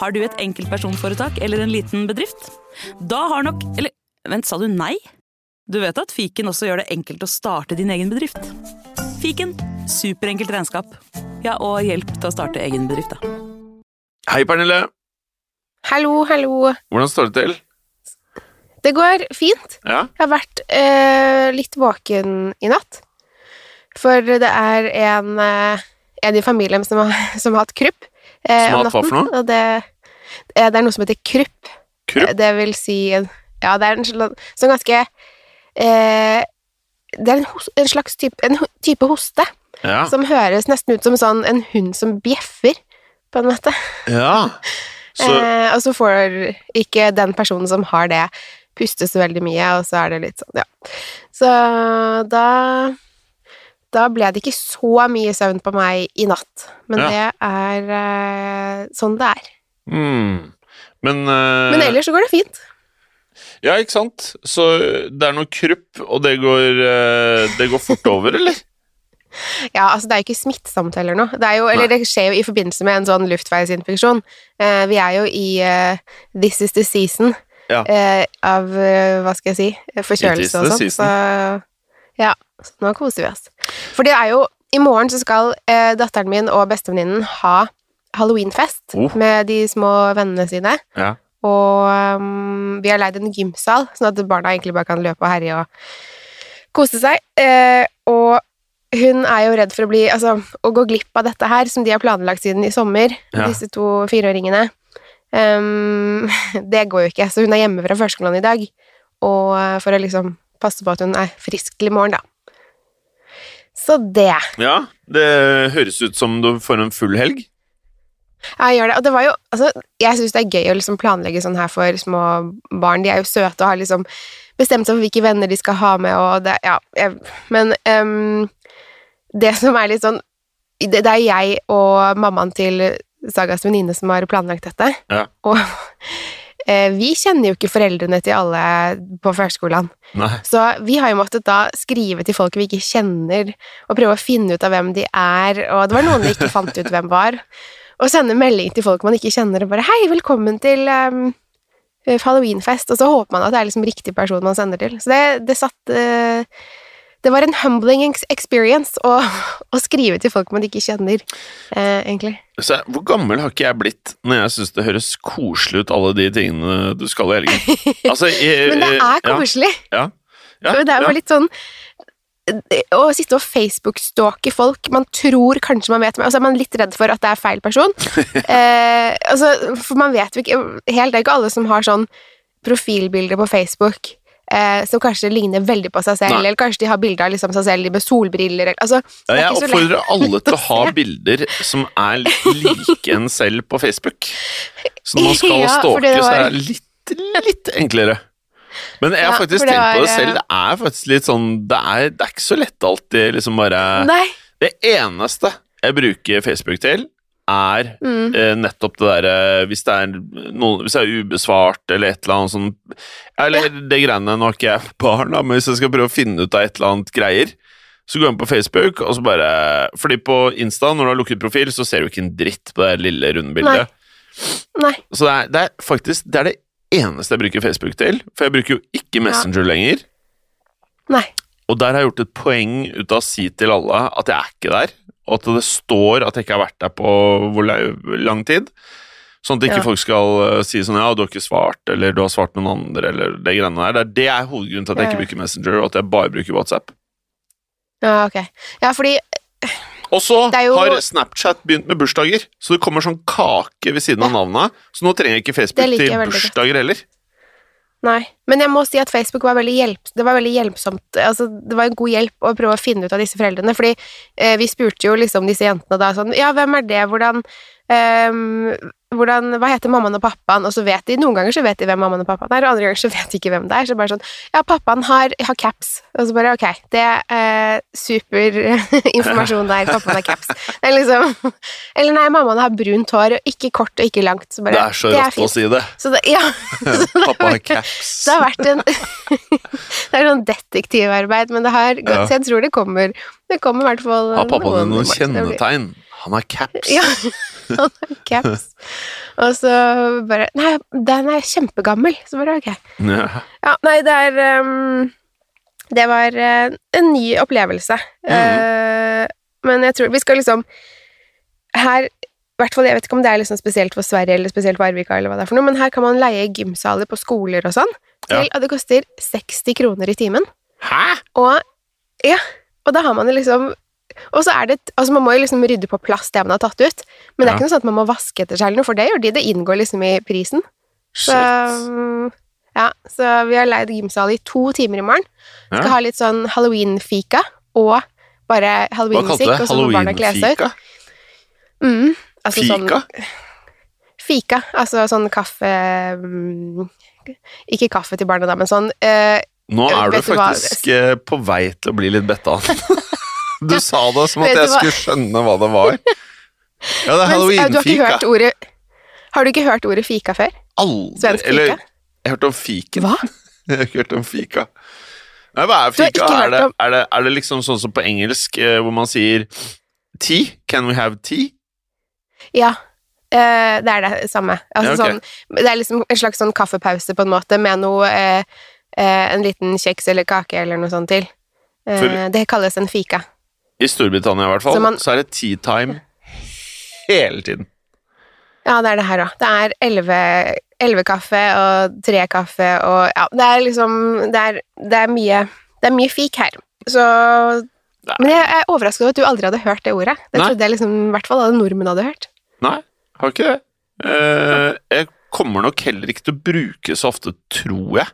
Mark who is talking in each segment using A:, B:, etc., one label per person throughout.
A: Har du et enkeltpersonforetak eller en liten bedrift? Da har nok Eller vent, sa du nei? Du vet at fiken også gjør det enkelt å starte din egen bedrift? Fiken superenkelt regnskap. Ja, og hjelp til å starte egen bedrift, da.
B: Hei, Pernille.
C: Hallo, hallo.
B: Hvordan står det til?
C: Det går fint.
B: Ja?
C: Jeg har vært eh, litt våken i natt. For det er en, eh, en i familien som har, som har hatt krypp. eh,
B: Som har
C: om
B: hatt hva for
C: natten,
B: noe?
C: Og det, eh, det er noe som heter krypp.
B: Krypp?
C: Eh, Det vil si en- Ja, det er en slags sånn ganske eh, Det er en, hos, en slags type, en ho- type hoste
B: Ja.
C: som høres nesten ut som sånn, en hund som bjeffer, på en måte.
B: ja. Så
C: Eh, og så får ikke den personen som har det, puste så veldig mye, og så er det litt sånn, ja. Så da Da ble det ikke så mye søvn på meg i natt, men
B: Ja.
C: det er eh, sånn det er.
B: mm. Men eh,
C: Men ellers så går det fint.
B: Ja, ikke sant? Så det er noe krupp, og det går, eh, det går fort over, eller?
C: Ja, altså det er jo ikke smittsomt heller nå. Det er jo, eller
B: Nei.
C: det skjer jo i forbindelse med en sånn luftveisinfeksjon. Eh, vi er jo i eh, This is the season
B: Ja.
C: eh, av, eh, hva skal jeg si,
B: It
C: eh,
B: is
C: forkjølelse og
B: the
C: sånn. Så, ja, så nå koser vi oss. For det er jo, i morgen så skal eh, datteren min og bestevenninnen ha Halloweenfest
B: Oh.
C: med de små vennene sine.
B: Ja.
C: Og ehm, vi har leid en gymsal, sånn at barna egentlig bare kan løpe og herje og kose seg. Eh, og hun er jo redd for å bli Altså, å gå glipp av dette her, som de har planlagt siden i sommer,
B: Ja.
C: disse to fireåringene. Ehm, det går jo ikke, så hun er hjemme fra førskolen i dag. Og eh, for å liksom passe på at hun er frisk til i morgen, da. Så det.
B: Ja, det høres ut som du får en full helg.
C: Ja, jeg gjør det. Og det var jo Altså, jeg syns det er gøy å liksom planlegge sånn her for små barn. De er jo søte og har liksom bestemt seg for hvilke venner de skal ha med, og det Ja, jeg, men ehm, det som er litt sånn det, det er jeg og mammaen til Sagas venninne som har planlagt dette.
B: Ja.
C: Og eh, vi kjenner jo ikke foreldrene til alle på førskolen.
B: Nei.
C: Så vi har jo måttet da skrive til folk vi ikke kjenner, og prøve å finne ut av hvem de er, og det var noen vi ikke fant ut hvem var, og sende melding til folk man ikke kjenner, og bare 'hei, velkommen til um, halloweenfest', og så håper man at det er liksom riktig person man sender til. Så det, det satt eh, Det var en humbling ex- experience å, å skrive til folk man ikke kjenner, eh, egentlig.
B: Så jeg, hvor gammel har ikke jeg blitt når jeg syns det høres koselig ut, alle de tingene du skal i helgen? Altså, jeg,
C: Men det er
B: ja,
C: koselig.
B: Ja, ja,
C: Men det er jo
B: ja.
C: bare litt sånn eh, å sitte og Facebook-stalke folk Man tror kanskje man vet Og så er man litt redd for at det er feil person. eh, altså, for man vet jo ikke Helt det er ikke alle som har sånn profilbilder på Facebook eh, som kanskje ligner veldig på seg selv,
B: Nei.
C: eller kanskje de har bilder av liksom, seg selv med solbriller eller- altså,
B: Ja,
C: det er
B: jeg
C: ikke så lett.
B: oppfordrer alle til å ha bilder som er litt like en selv på Facebook. Så når man skal
C: Ja, fordi
B: stalke,
C: det
B: så er
C: var-
B: det litt, litt enklere. Men jeg har
C: Ja,
B: faktisk
C: for det
B: tenkt på
C: var,
B: det
C: eh,
B: selv. Det er faktisk litt sånn Det er, det er ikke så lett alltid liksom bare
C: Nei.
B: Det eneste jeg bruker Facebook til, er
C: Mm.
B: eh, nettopp det derre hvis, det er noen- hvis det er ubesvart eller et eller annet sånn Eller det greiene Nå har ikke jeg barn, da, men hvis jeg skal prøve å finne ut av et eller annet greier, så går jeg inn på Facebook, og så bare Fordi på Insta, når du har lukket profil, så ser du ikke en dritt på det lille, runde bildet.
C: Nei.
B: Så det er, det er faktisk Det er det eneste jeg bruker Facebook til, for jeg bruker jo ikke Messenger lenger.
C: Nei.
B: Og der har jeg gjort et poeng ut av å si til alle at jeg er ikke der, og at det står at jeg ikke har vært der på hvor le- lang tid. Sånn at ikke
C: Ja.
B: folk skal eh, si sånn ja, du har ikke svart, eller du har svart noen andre, eller det greiene der. Det er, det er hovedgrunnen til at jeg
C: Ja,
B: ikke
C: ja.
B: bruker Messenger, og at jeg bare bruker WhatsApp.
C: Ja, ok. Ja, fordi
B: Og så
C: Det er jo-
B: har Snapchat begynt med bursdager, så det kommer sånn kake ved siden av navnet. Så nå trenger jeg ikke
C: Det
B: Facebook
C: liker jeg
B: til
C: veldig godt.
B: bursdager heller.
C: Nei, men jeg må si at Facebook var veldig, hjelp, det var veldig hjelpsomt. Altså, det var en god hjelp å prøve å finne ut av disse foreldrene, fordi eh, vi spurte jo liksom disse jentene da sånn, ja, hvem er det, hvordan, ehm, hvordan, hva heter mammaen og pappaen, og så vet de, noen ganger så vet de hvem mammaen og pappaen er, og andre ganger så vet de ikke hvem det er, så bare sånn, ja, pappaen har, har caps, og så bare, ok, det er eh, super informasjon der, pappaen har caps. Eller liksom, eller nei, mammaen har brunt hår, og ikke kort og ikke langt, så bare,
B: Det er så rått å
C: fint.
B: si det.
C: Så det, ja,
B: Pappa har caps.
C: det har vært en Det er sånn detektivarbeid, men det har gått,
B: Ja.
C: så jeg tror det kommer. Det kommer i hvert fall
B: Har pappaen din noen
C: det blir-
B: kjennetegn? Han har caps.
C: Ja, han har caps. Og så bare Nei, den er kjempegammel. Så bare ok.
B: Ja.
C: Ja, nei, det er ehm, Det var eh, en ny opplevelse.
B: Mhm.
C: Eh, men jeg tror vi skal liksom Her i hvert fall, Jeg vet ikke om det er liksom spesielt for Sverige eller spesielt for Arvika, eller hva det er for noe, men her kan man leie gymsaler på skoler og sånn til
B: Ja.
C: at det koster 60 kroner i timen.
B: Hæ?
C: Og ja, og da har man det liksom og så er det, et- altså Man må jo liksom rydde på plass det man har tatt ut, men det er
B: Ja.
C: ikke noe sånn at man må vaske etter seg, eller noe, for det gjør de. Det inngår liksom i prisen.
B: Shit.
C: Så, mm, ja, så vi har leid gymsal i to timer i morgen.
B: Ja.
C: Skal ha litt sånn halloween-fika og
B: Hva
C: bare
B: kalte
C: halloween-musikk.
B: du det?
C: Og så må barna kle seg
B: Halloween-fika?
C: ut. Mm, altså
B: Fika?
C: Sånn, fika. Altså sånn kaffe mm, Ikke kaffe til barna, da, men sånn eh,
B: Nå er du
C: Vet du hva?
B: faktisk eh, på vei til å bli litt bettan. Du sa det som at
C: Vet du
B: jeg
C: hva?
B: skulle skjønne hva det var. Ja, det er
C: men, eh, Du har ikke
B: halloween-fika.
C: hørt ordet Har du ikke hørt ordet fika før?
B: Aldri
C: Svensk
B: Eller,
C: fika?
B: jeg hørte om fiken.
C: Hva?
B: Jeg har ikke hørt om fika. Nei, hva er
C: Du har ikke
B: fika? Er
C: hørt
B: det,
C: om-
B: er, det, er det liksom sånn som på engelsk, eh, hvor man sier tea? Can we have tea?
C: Ja. eh, det er det samme. Altså,
B: Ja, ok.
C: sånn, det er liksom en slags sånn kaffepause, på en måte, med noe eh, eh, En liten kjeks eller kake eller noe sånt til. Eh,
B: For-
C: det kalles en fika.
B: I Storbritannia i hvert fall,
C: Så
B: så,
C: man-
B: er det tea time hele tiden.
C: Ja, det er det her òg. Det er elleve elleve kaffe og tre kaffe og Ja, det er liksom Det er, det er mye Det er mye fik her. Så
B: Nei.
C: Men jeg er overrasket over at du aldri hadde hørt det ordet. Det
B: Nei.
C: trodde jeg liksom i hvert fall alle nordmenn hadde hørt.
B: Nei, har ikke det. Eh, jeg kommer nok heller ikke til å bruke så ofte, tror jeg.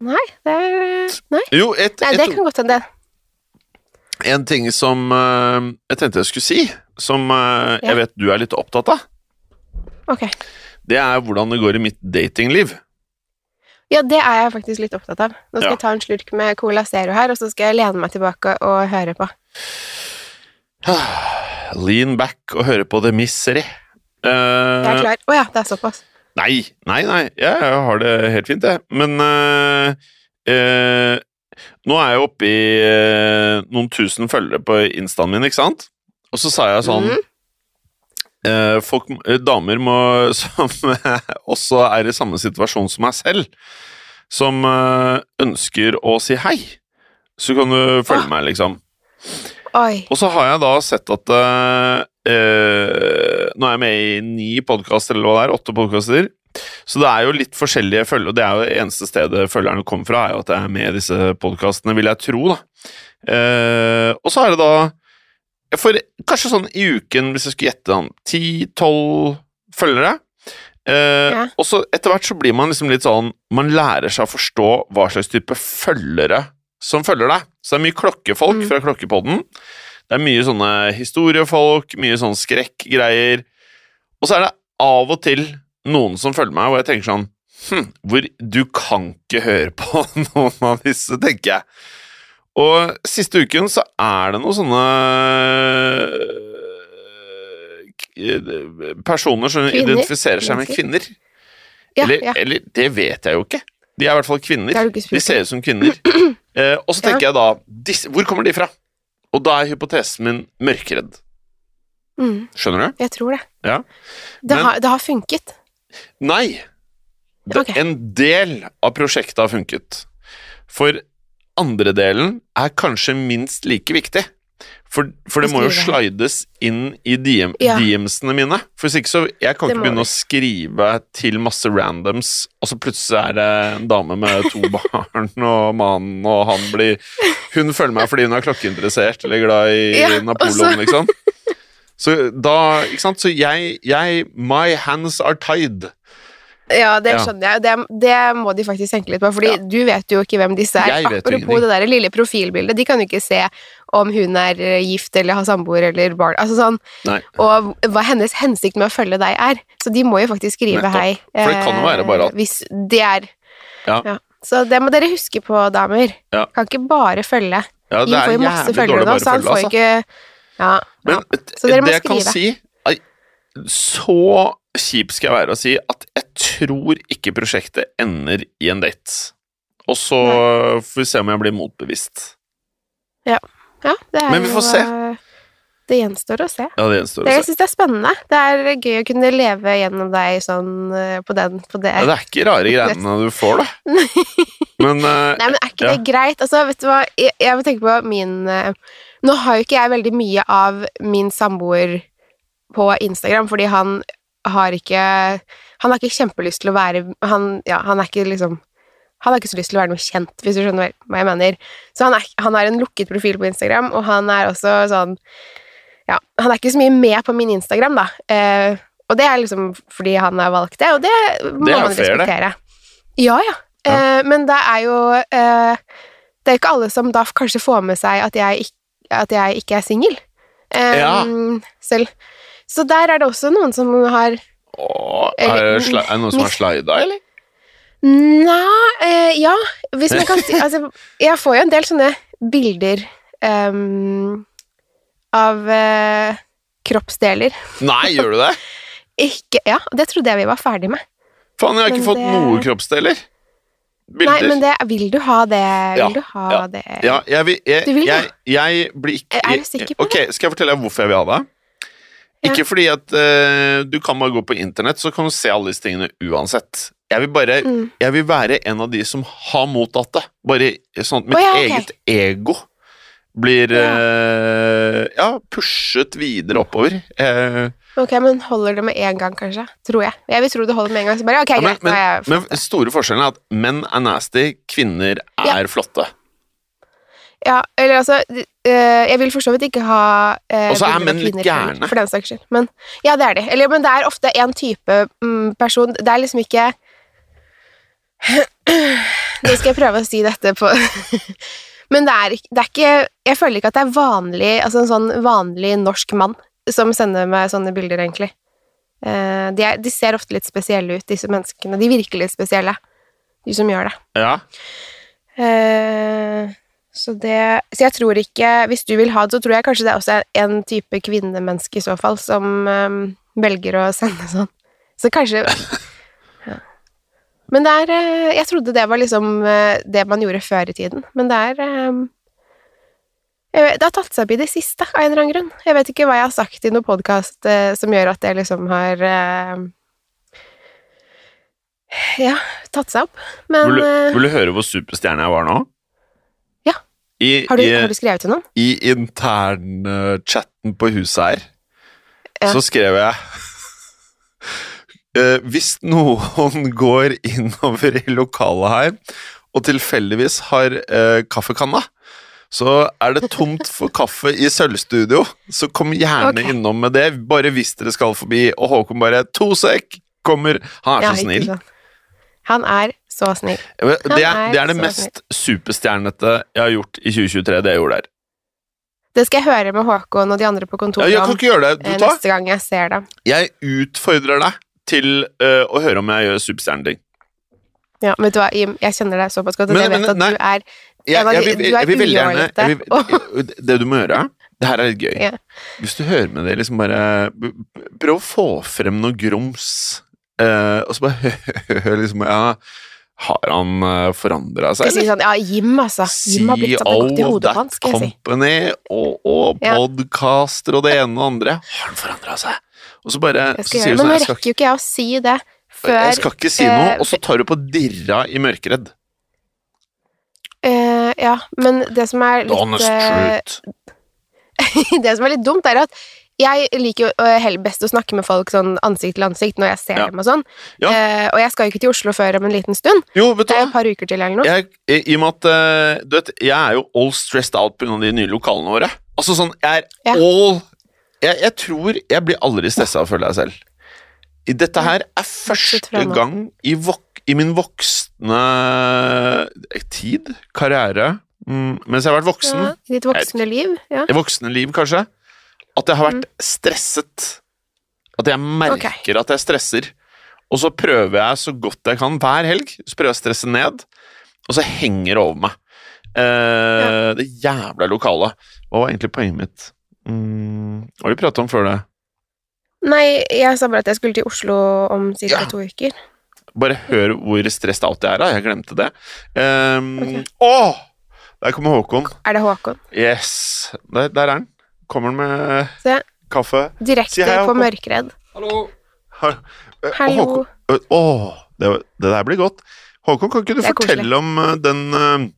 C: Nei, det er Nei,
B: Jo, et,
C: nei
B: et,
C: det kan godt hende. det.
B: en ting som eh, jeg tenkte jeg skulle si, som eh,
C: Ja.
B: jeg vet du er litt opptatt av,
C: Ok.
B: det er hvordan det går i mitt datingliv.
C: Ja, det er jeg faktisk litt opptatt av. Nå
B: Ja.
C: skal jeg ta en slurk med Cola Zero her, og så skal jeg lene meg tilbake og høre på.
B: Lean back og høre på The Misery.
C: Jeg er
B: Eh,
C: klar. Å ja, det er såpass.
B: nei, nei, nei, jeg har det helt fint, jeg. Men eh, eh, nå er jeg oppe i eh, noen tusen følgere på instaen min, ikke sant? Og så sa jeg sånn
C: Mhm.
B: eh, folk, eh, Damer må, som også er i samme situasjon som meg selv, som eh, ønsker å si hei, så kan du følge
C: Ah.
B: meg, liksom.
C: Oi.
B: Og så har jeg da sett at eh, eh, Nå er jeg med i ni podkaster, eller hva det er. Åtte podkaster. Så det er jo litt forskjellige følgere, og det er jo det eneste stedet følgerne kommer fra, er jo at jeg er med i disse podkastene, vil jeg tro, da. Eh, og så er det da jeg får kanskje sånn i uken, hvis jeg skulle gjette, sånn 10-12 følgere. Eh,
C: Ja.
B: Og så etter hvert så blir man liksom litt sånn Man lærer seg å forstå hva slags type følgere som følger deg. Så det er mye klokkefolk
C: Mm.
B: fra Klokkepodden. Det er mye sånne historiefolk, mye sånn skrekkgreier. Og så er det av og til noen som følger meg, og jeg tenker sånn hm, hvor Du kan ikke høre på noen av disse, tenker jeg. Og siste uken så er det noen sånne øh, k- personer som
C: Kvinner?
B: identifiserer seg med kvinner.
C: Ja,
B: eller,
C: ja.
B: eller det vet jeg jo ikke. De er i hvert fall kvinner.
C: Det har du ikke spurt
B: De ser ut som kvinner. Eh, og så tenker jeg da disse, Hvor kommer de fra? Og da er hypotesen min mørkeredd.
C: Mm,
B: Skjønner du?
C: jeg tror det.
B: Ja.
C: Det,
B: Men-
C: har, det har funket.
B: Nei. Det,
C: Ok.
B: En del av prosjektet har funket. For andre delen er kanskje minst like viktig. For, for det
C: Å
B: må jo
C: skrive.
B: slides inn i DM,
C: Ja.
B: DMs-ene mine. For hvis ikke så Jeg kan
C: Det
B: ikke
C: må
B: begynne
C: vi.
B: å skrive til masse randoms, og så plutselig er det en dame med to barn, og mannen og han blir Hun følger meg fordi hun er klokkeinteressert eller glad i
C: Ja,
B: Napoleon,
C: også.
B: liksom. Så da Ikke sant? Så jeg, jeg My hands are tied.
C: Ja, det
B: Ja.
C: skjønner jeg. Det, det må de faktisk tenke litt på, fordi du vet jo ikke hvem disse er.
B: Jeg vet jo
C: Apropos
B: ingenting.
C: det der lille profilbildet, de kan jo ikke se om hun er eh, gift eller har samboer eller barn, altså sånn,
B: Nei.
C: og hva hennes hensikt med å følge deg er. Så de må jo faktisk skrive
B: Nettopp.
C: hei.
B: For det kan jo være
C: eh,
B: bare at-
C: Hvis det er
B: Ja.
C: Så det må dere huske på, damer.
B: Ja.
C: Kan ikke bare følge.
B: Ja,
C: Jim får jo masse følgere nå, så han får
B: altså.
C: jo ikke ja,
B: Men
C: ja. Så dere må
B: det jeg kan
C: skrive.
B: si ai, Så kjip skal jeg være å si at jeg tror ikke prosjektet ender i en date. Og så får vi se om jeg blir motbevist.
C: ja, det er
B: Men vi får
C: jo,
B: se.
C: eh, Det gjenstår å se.
B: Ja, det gjenstår
C: Det,
B: å
C: jeg
B: se.
C: syns det er spennende. Det er gøy å kunne leve gjennom deg sånn eh, på den, på det.
B: Ja, det er ikke rare greiene du får, da. Men eh,
C: Nei, men er ikke det greit? Altså, vet du hva, jeg, jeg vil tenke på min eh, Nå har jo ikke jeg veldig mye av min samboer på Instagram, fordi han har ikke Han har ikke kjempelyst til å være Han, ja, han er ikke liksom han har ikke så lyst til å være noe kjent, hvis du skjønner hva jeg mener. Så han, er, han har en lukket profil på Instagram, og han er også sånn Ja, han er ikke så mye med på min Instagram, da. Eh, og det er liksom fordi han har valgt det, og det må
B: Det er jo fair,
C: man
B: det.
C: respektere. Ja, ja. Eh, men det er jo eh, Det er ikke alle som da kanskje får med seg at jeg, ikk- at jeg ikke er singel eh,
B: Ja.
C: selv. Så der er det også noen som har
B: å, er, det sli- er det noen som har slida, eller?
C: Nei eh, Ja, hvis man kan si Altså, jeg får jo en del sånne bilder ehm, av eh, kroppsdeler.
B: Nei, gjør du det?
C: Ikke Ja, det trodde jeg vi var ferdig med.
B: Faen, jeg har ikke
C: Men
B: fått
C: det-
B: noe kroppsdeler. Bilder.
C: Nei, men det Vil du ha det? Vil
B: Ja,
C: du ha
B: ja,
C: det?
B: Ja, jeg, vil, jeg,
C: Du vil det?
B: jeg, jeg blir ikke
C: Er- er du sikker på
B: Ok, skal jeg fortelle deg hvorfor jeg vil ha det?
C: Ja.
B: Ikke fordi at eh, du kan bare gå på internett, så kan du se alle disse tingene uansett. Jeg vil bare
C: Mm.
B: Jeg vil være en av de som har mottatt det. Bare sånn at mitt
C: Å, ja, ok.
B: eget ego blir ja. ja, pushet videre oppover. Eh,
C: Ok, men holder det med en gang, kanskje? Tror jeg. Jeg vil tro det holder med en gang. Så bare, ok,
B: ja, men,
C: greit, nå
B: men,
C: er jeg...
B: men store forskjellen er at menn er nasty, kvinner er flotte.
C: Ja, eller altså, øh, jeg vil for så vidt ikke ha øh,
B: Og så er
C: bilder av
B: menn litt
C: kvinner
B: gærne.
C: For den saks skyld. Men, ja, det er de. Eller, men det er ofte en type mm, person. Det er liksom ikke Nå skal jeg prøve å si dette på Men det er, ikk- det er ikke Jeg føler ikke at det er vanlig Altså en sånn vanlig norsk mann som sender meg sånne bilder, egentlig. Eh, de, er, de ser ofte litt spesielle ut, disse menneskene. De virker litt spesielle, de som gjør det.
B: Ja.
C: Eh, så det Så jeg tror ikke Hvis du vil ha det, så tror jeg kanskje det er også en type kvinnemenneske i så fall som eh, velger å sende sånn. Så kanskje ja. Men det er eh, Jeg trodde det var liksom eh, det man gjorde før i tiden, men det er eh, jeg vet, det har tatt seg opp i det siste, av en eller annen grunn. Jeg vet ikke hva jeg har sagt i noen podkast som gjør at det liksom har eh, Ja, tatt seg opp. Men
B: Vil,
C: eh,
B: du- vil du høre hvor superstjerne jeg var nå?
C: Ja.
B: I,
C: Har du,
B: i,
C: har du skrevet til noen?
B: i internchatten på huset her,
C: Ja.
B: så skrev jeg eh, Hvis noen går innover i lokalet her, og tilfeldigvis har eh, kaffekanna, så er det tomt for kaffe i sølvstudio, så kom gjerne
C: Ok.
B: innom med det, bare hvis dere skal forbi. Og Håkon bare To sekk! Kommer. Han er
C: Ja,
B: så
C: ikke
B: snill.
C: sant. Han er så snill.
B: Det er, det
C: Han er
B: er det
C: så
B: mest superstjernete jeg har gjort i 2023, det jeg gjorde der.
C: Det skal jeg høre med Håkon og de andre på
B: Ja,
C: kontoret
B: jeg
C: om
B: kan ikke gjøre det.
C: eh,
B: Du tar.
C: neste gang jeg ser dem.
B: Jeg utfordrer deg til eh, å høre om jeg gjør superstjerneting.
C: Ja, men vet du hva, Jim, jeg kjenner deg såpass godt at
B: Men-
C: jeg vet
B: men-
C: at
B: nei.
C: du er
B: Jeg,
C: Ja, da,
B: jeg,
C: du-
B: vil-
C: du er
B: jeg vil veldig gjerne
C: uålete.
B: jeg vil, Det du må gjøre Det her er litt gøy.
C: Ja.
B: Hvis du hører med det, liksom bare b- Prøv å få frem noe grums, eh, og så bare hør liksom Ja, har han uh, forandra seg,
C: Skal jeg si sånn Ja, Jim, altså. Jim har blitt tatt
B: all
C: godt i
B: of
C: hodet på
B: that
C: han, skal jeg si.
B: company og, og
C: Ja.
B: podcaster og det ene og det andre. Har han forandra seg? Og så bare så
C: Jeg skal
B: sier du
C: gjøre det.
B: sånn
C: Men nå
B: jeg skal,
C: rekker jo ikke jeg å si det
B: ikke-
C: før
B: jeg skal ikke si noe,
C: eh,
B: og så tar du på dirra i mørkeredd.
C: eh, Ja, men det som er
B: The honest
C: litt eh,
B: truth.
C: Det som er litt dumt, er at jeg liker jo eh, heller best å snakke med folk sånn ansikt til ansikt når jeg ser
B: Ja.
C: dem og sånn.
B: Ja.
C: Eh, og jeg skal jo ikke til Oslo før om en liten stund.
B: Jo, vet du
C: Det er jo
B: hva?
C: et par uker til eller noe.
B: Jeg, i, I og med at eh, du vet, jeg er jo all stressed out pga. de nye lokalene våre. Altså sånn, jeg er
C: Ja.
B: all jeg, jeg tror jeg blir aldri stressa av å føle deg selv. I- Dette her er
C: Bortsett
B: første
C: fra nå.
B: gang i, vok i min voksne tid, karriere mm, Mens jeg har vært voksen,
C: Ja, I ditt voksne liv. Ja.
B: i voksne liv kanskje, at jeg har vært
C: Mm.
B: stresset. At jeg merker at jeg stresser. Og så prøver jeg så godt jeg kan hver helg, så prøver jeg å stresse ned, og så henger det over meg. Eh, Det jævla lokalet. Hva var egentlig poenget mitt? Mm, hva har vi pratet om før det?
C: Nei, jeg sa bare at jeg skulle til Oslo om ca.
B: Ja.
C: to uker.
B: Bare hør hvor stresset out jeg er av. Jeg glemte det. Um, Å! Der kommer Håkon.
C: Er det Håkon?
B: Yes. Der, der er han. Kommer han med
C: Se,
B: kaffe? Si
C: direkte
B: hei,
C: på
B: Håkon.
C: Mørkeredd.
D: Hallo.
B: Har- eh,
C: Hallo.
B: Håkon- eh, Åh, det, var- det der blir godt. Håkon, kan ikke du
C: Det er
B: fortelle
C: koselig.
B: om eh, den eh,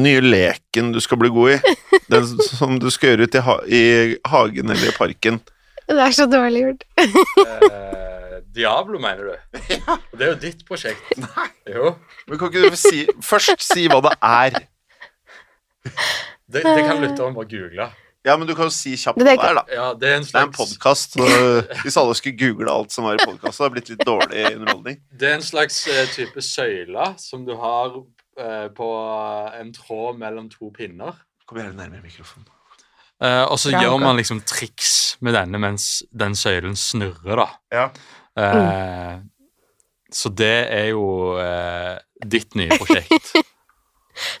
B: nye leken du skal bli god i? Den s- som du skal gjøre ute i, ha i hagen eller i parken.
C: Det er så dårlig gjort.
D: Eh, Diablo, mener du? Det er jo ditt prosjekt. Nei. Jo.
B: Men kan ikke du si, først si hva det er?
D: Det, det kan lytteren bare google.
B: Ja, men du kan jo si kjapt hva
C: Det
B: det
C: er
B: er, da.
D: Ja, det er en
B: Det er en
D: slags,
B: podkast. Hvis alle skulle google alt som var i podkasten, hadde det blitt litt dårlig underholdning.
D: det er en slags eh, type søyle som du har eh, på en tråd mellom to pinner.
B: Kom gjerne nærmere mikrofonen.
D: Eh, og så
C: Bra,
D: gjør
C: Håkon.
D: man liksom triks med denne mens den søylen snurrer, da.
B: Ja.
D: Eh, Så det er jo eh, ditt nye prosjekt.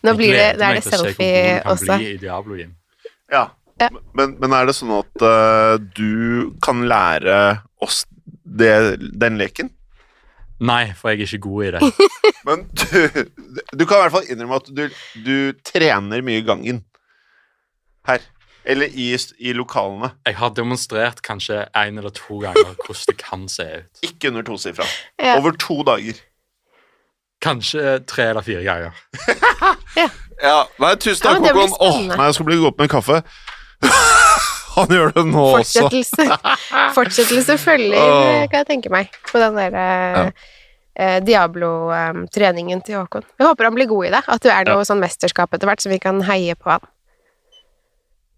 C: Nå
D: Jeg
C: blir det,
D: gleder
C: det er
D: meg
C: det
D: til å se hvor god
C: selfie
D: du kan
C: også.
D: bli i Diablo igjen.
B: Ja.
C: Ja.
B: Men, men er det sånn at eh, du kan lære oss det, den leken?
D: Nei, for jeg er ikke god i det.
B: Men du, du kan i hvert fall innrømme at du, du trener mye i gangen her. Eller i, st- i lokalene.
D: Jeg har demonstrert kanskje én eller to ganger hvordan det kan se ut.
B: Ikke under tosifra.
C: Ja.
B: Over to dager.
D: Kanskje tre eller fire ganger.
B: Ja, nei, tusen
C: Ja,
B: takk,
C: men det blir
B: Håkon. Åh,
C: spennende.
B: nei, jeg skal bli godt med kaffe. Han gjør det nå også.
C: Fortsettelse. Fortsettelse følger, eh,
B: Åh.
C: kan jeg tenke meg, på den der
B: Ja.
C: eh, Diablo-treningen til Håkon. Jeg håper han blir god i det, at du er noe sånn mesterskap etter hvert, så vi kan heie på han.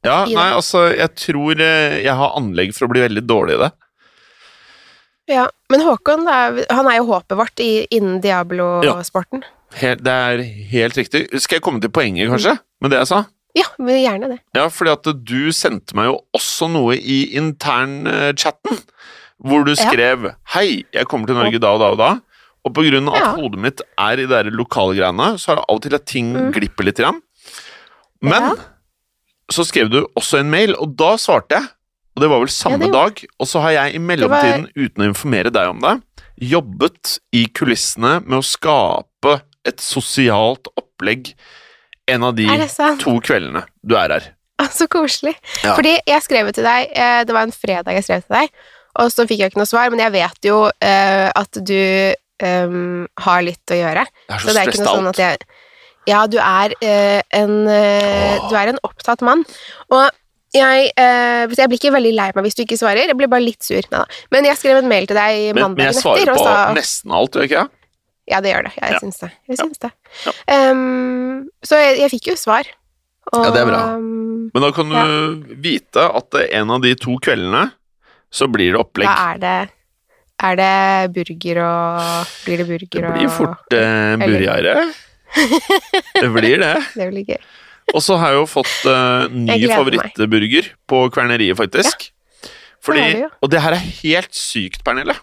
B: Ja,
C: i det.
B: nei, altså, jeg tror eh, jeg har anlegg for å bli veldig dårlig i det.
C: Ja, Men Håkon da, han er jo håpet vårt i, innen Diablo-sporten.
B: Helt, det er helt riktig. Skal jeg komme til poenget,
C: Mm.
B: kanskje? Med det jeg sa?
C: Ja, men gjerne det.
B: Ja, fordi at du sendte meg jo også noe i internchatten, hvor du
C: Ja.
B: skrev Hei, jeg kommer til Norge da og da og da. Og på grunn av
C: Ja.
B: at hodet mitt er i de der lokalgreiene, så er det av og til at ting glipper litt. Grann. Men
C: Mm. Ja.
B: så skrev du også en mail, og da svarte jeg. Og det var vel samme
C: det
B: dag. Og så har jeg i mellomtiden, uten å informere deg om det, jobbet i kulissene med å skape et sosialt opplegg en av de
C: Er det sant?
B: to kveldene du er her.
C: Ah, Så koselig.
B: Ja.
C: Fordi jeg skrev til deg eh, Det var en fredag jeg skrev til deg, og så fikk jeg ikke noe svar, men jeg vet jo eh, at du ehm, har litt å gjøre.
B: Jeg er så
C: Så det er ikke
B: stressa
C: noe sånn
B: alt.
C: at jeg Ja, du er eh, en eh,
B: Åh.
C: Du er en opptatt mann. Og jeg, eh, for jeg blir ikke veldig lei meg hvis du ikke svarer. Jeg blir bare litt sur. Neida. Men jeg skrev en mail til
B: Men,
C: deg
B: men
C: mandagen
B: jeg
C: etter
B: svarer
C: og
B: på
C: sa
B: nesten alt, gjør jeg ikke det?
C: Ja, det gjør det. Jeg
B: Ja.
C: syns det. Jeg syns det. Ehm, så jeg, jeg fikk jo svar. Og,
B: Ja, det er bra.
C: ehm,
B: Men da kan du vite at eh, en av de to kveldene så blir det opplegg.
C: Da er det Er det burger og Blir det burger
B: det
C: og
B: blir fort eh,
C: Eller-
B: burgere. det blir det.
C: Det blir gøy.
B: Og så har jeg jo fått eh, ny
C: Jeg gleder
B: favorittburger på Kverneriet, faktisk. Fordi,
C: har du jo.
B: og det her er helt sykt, Pernille.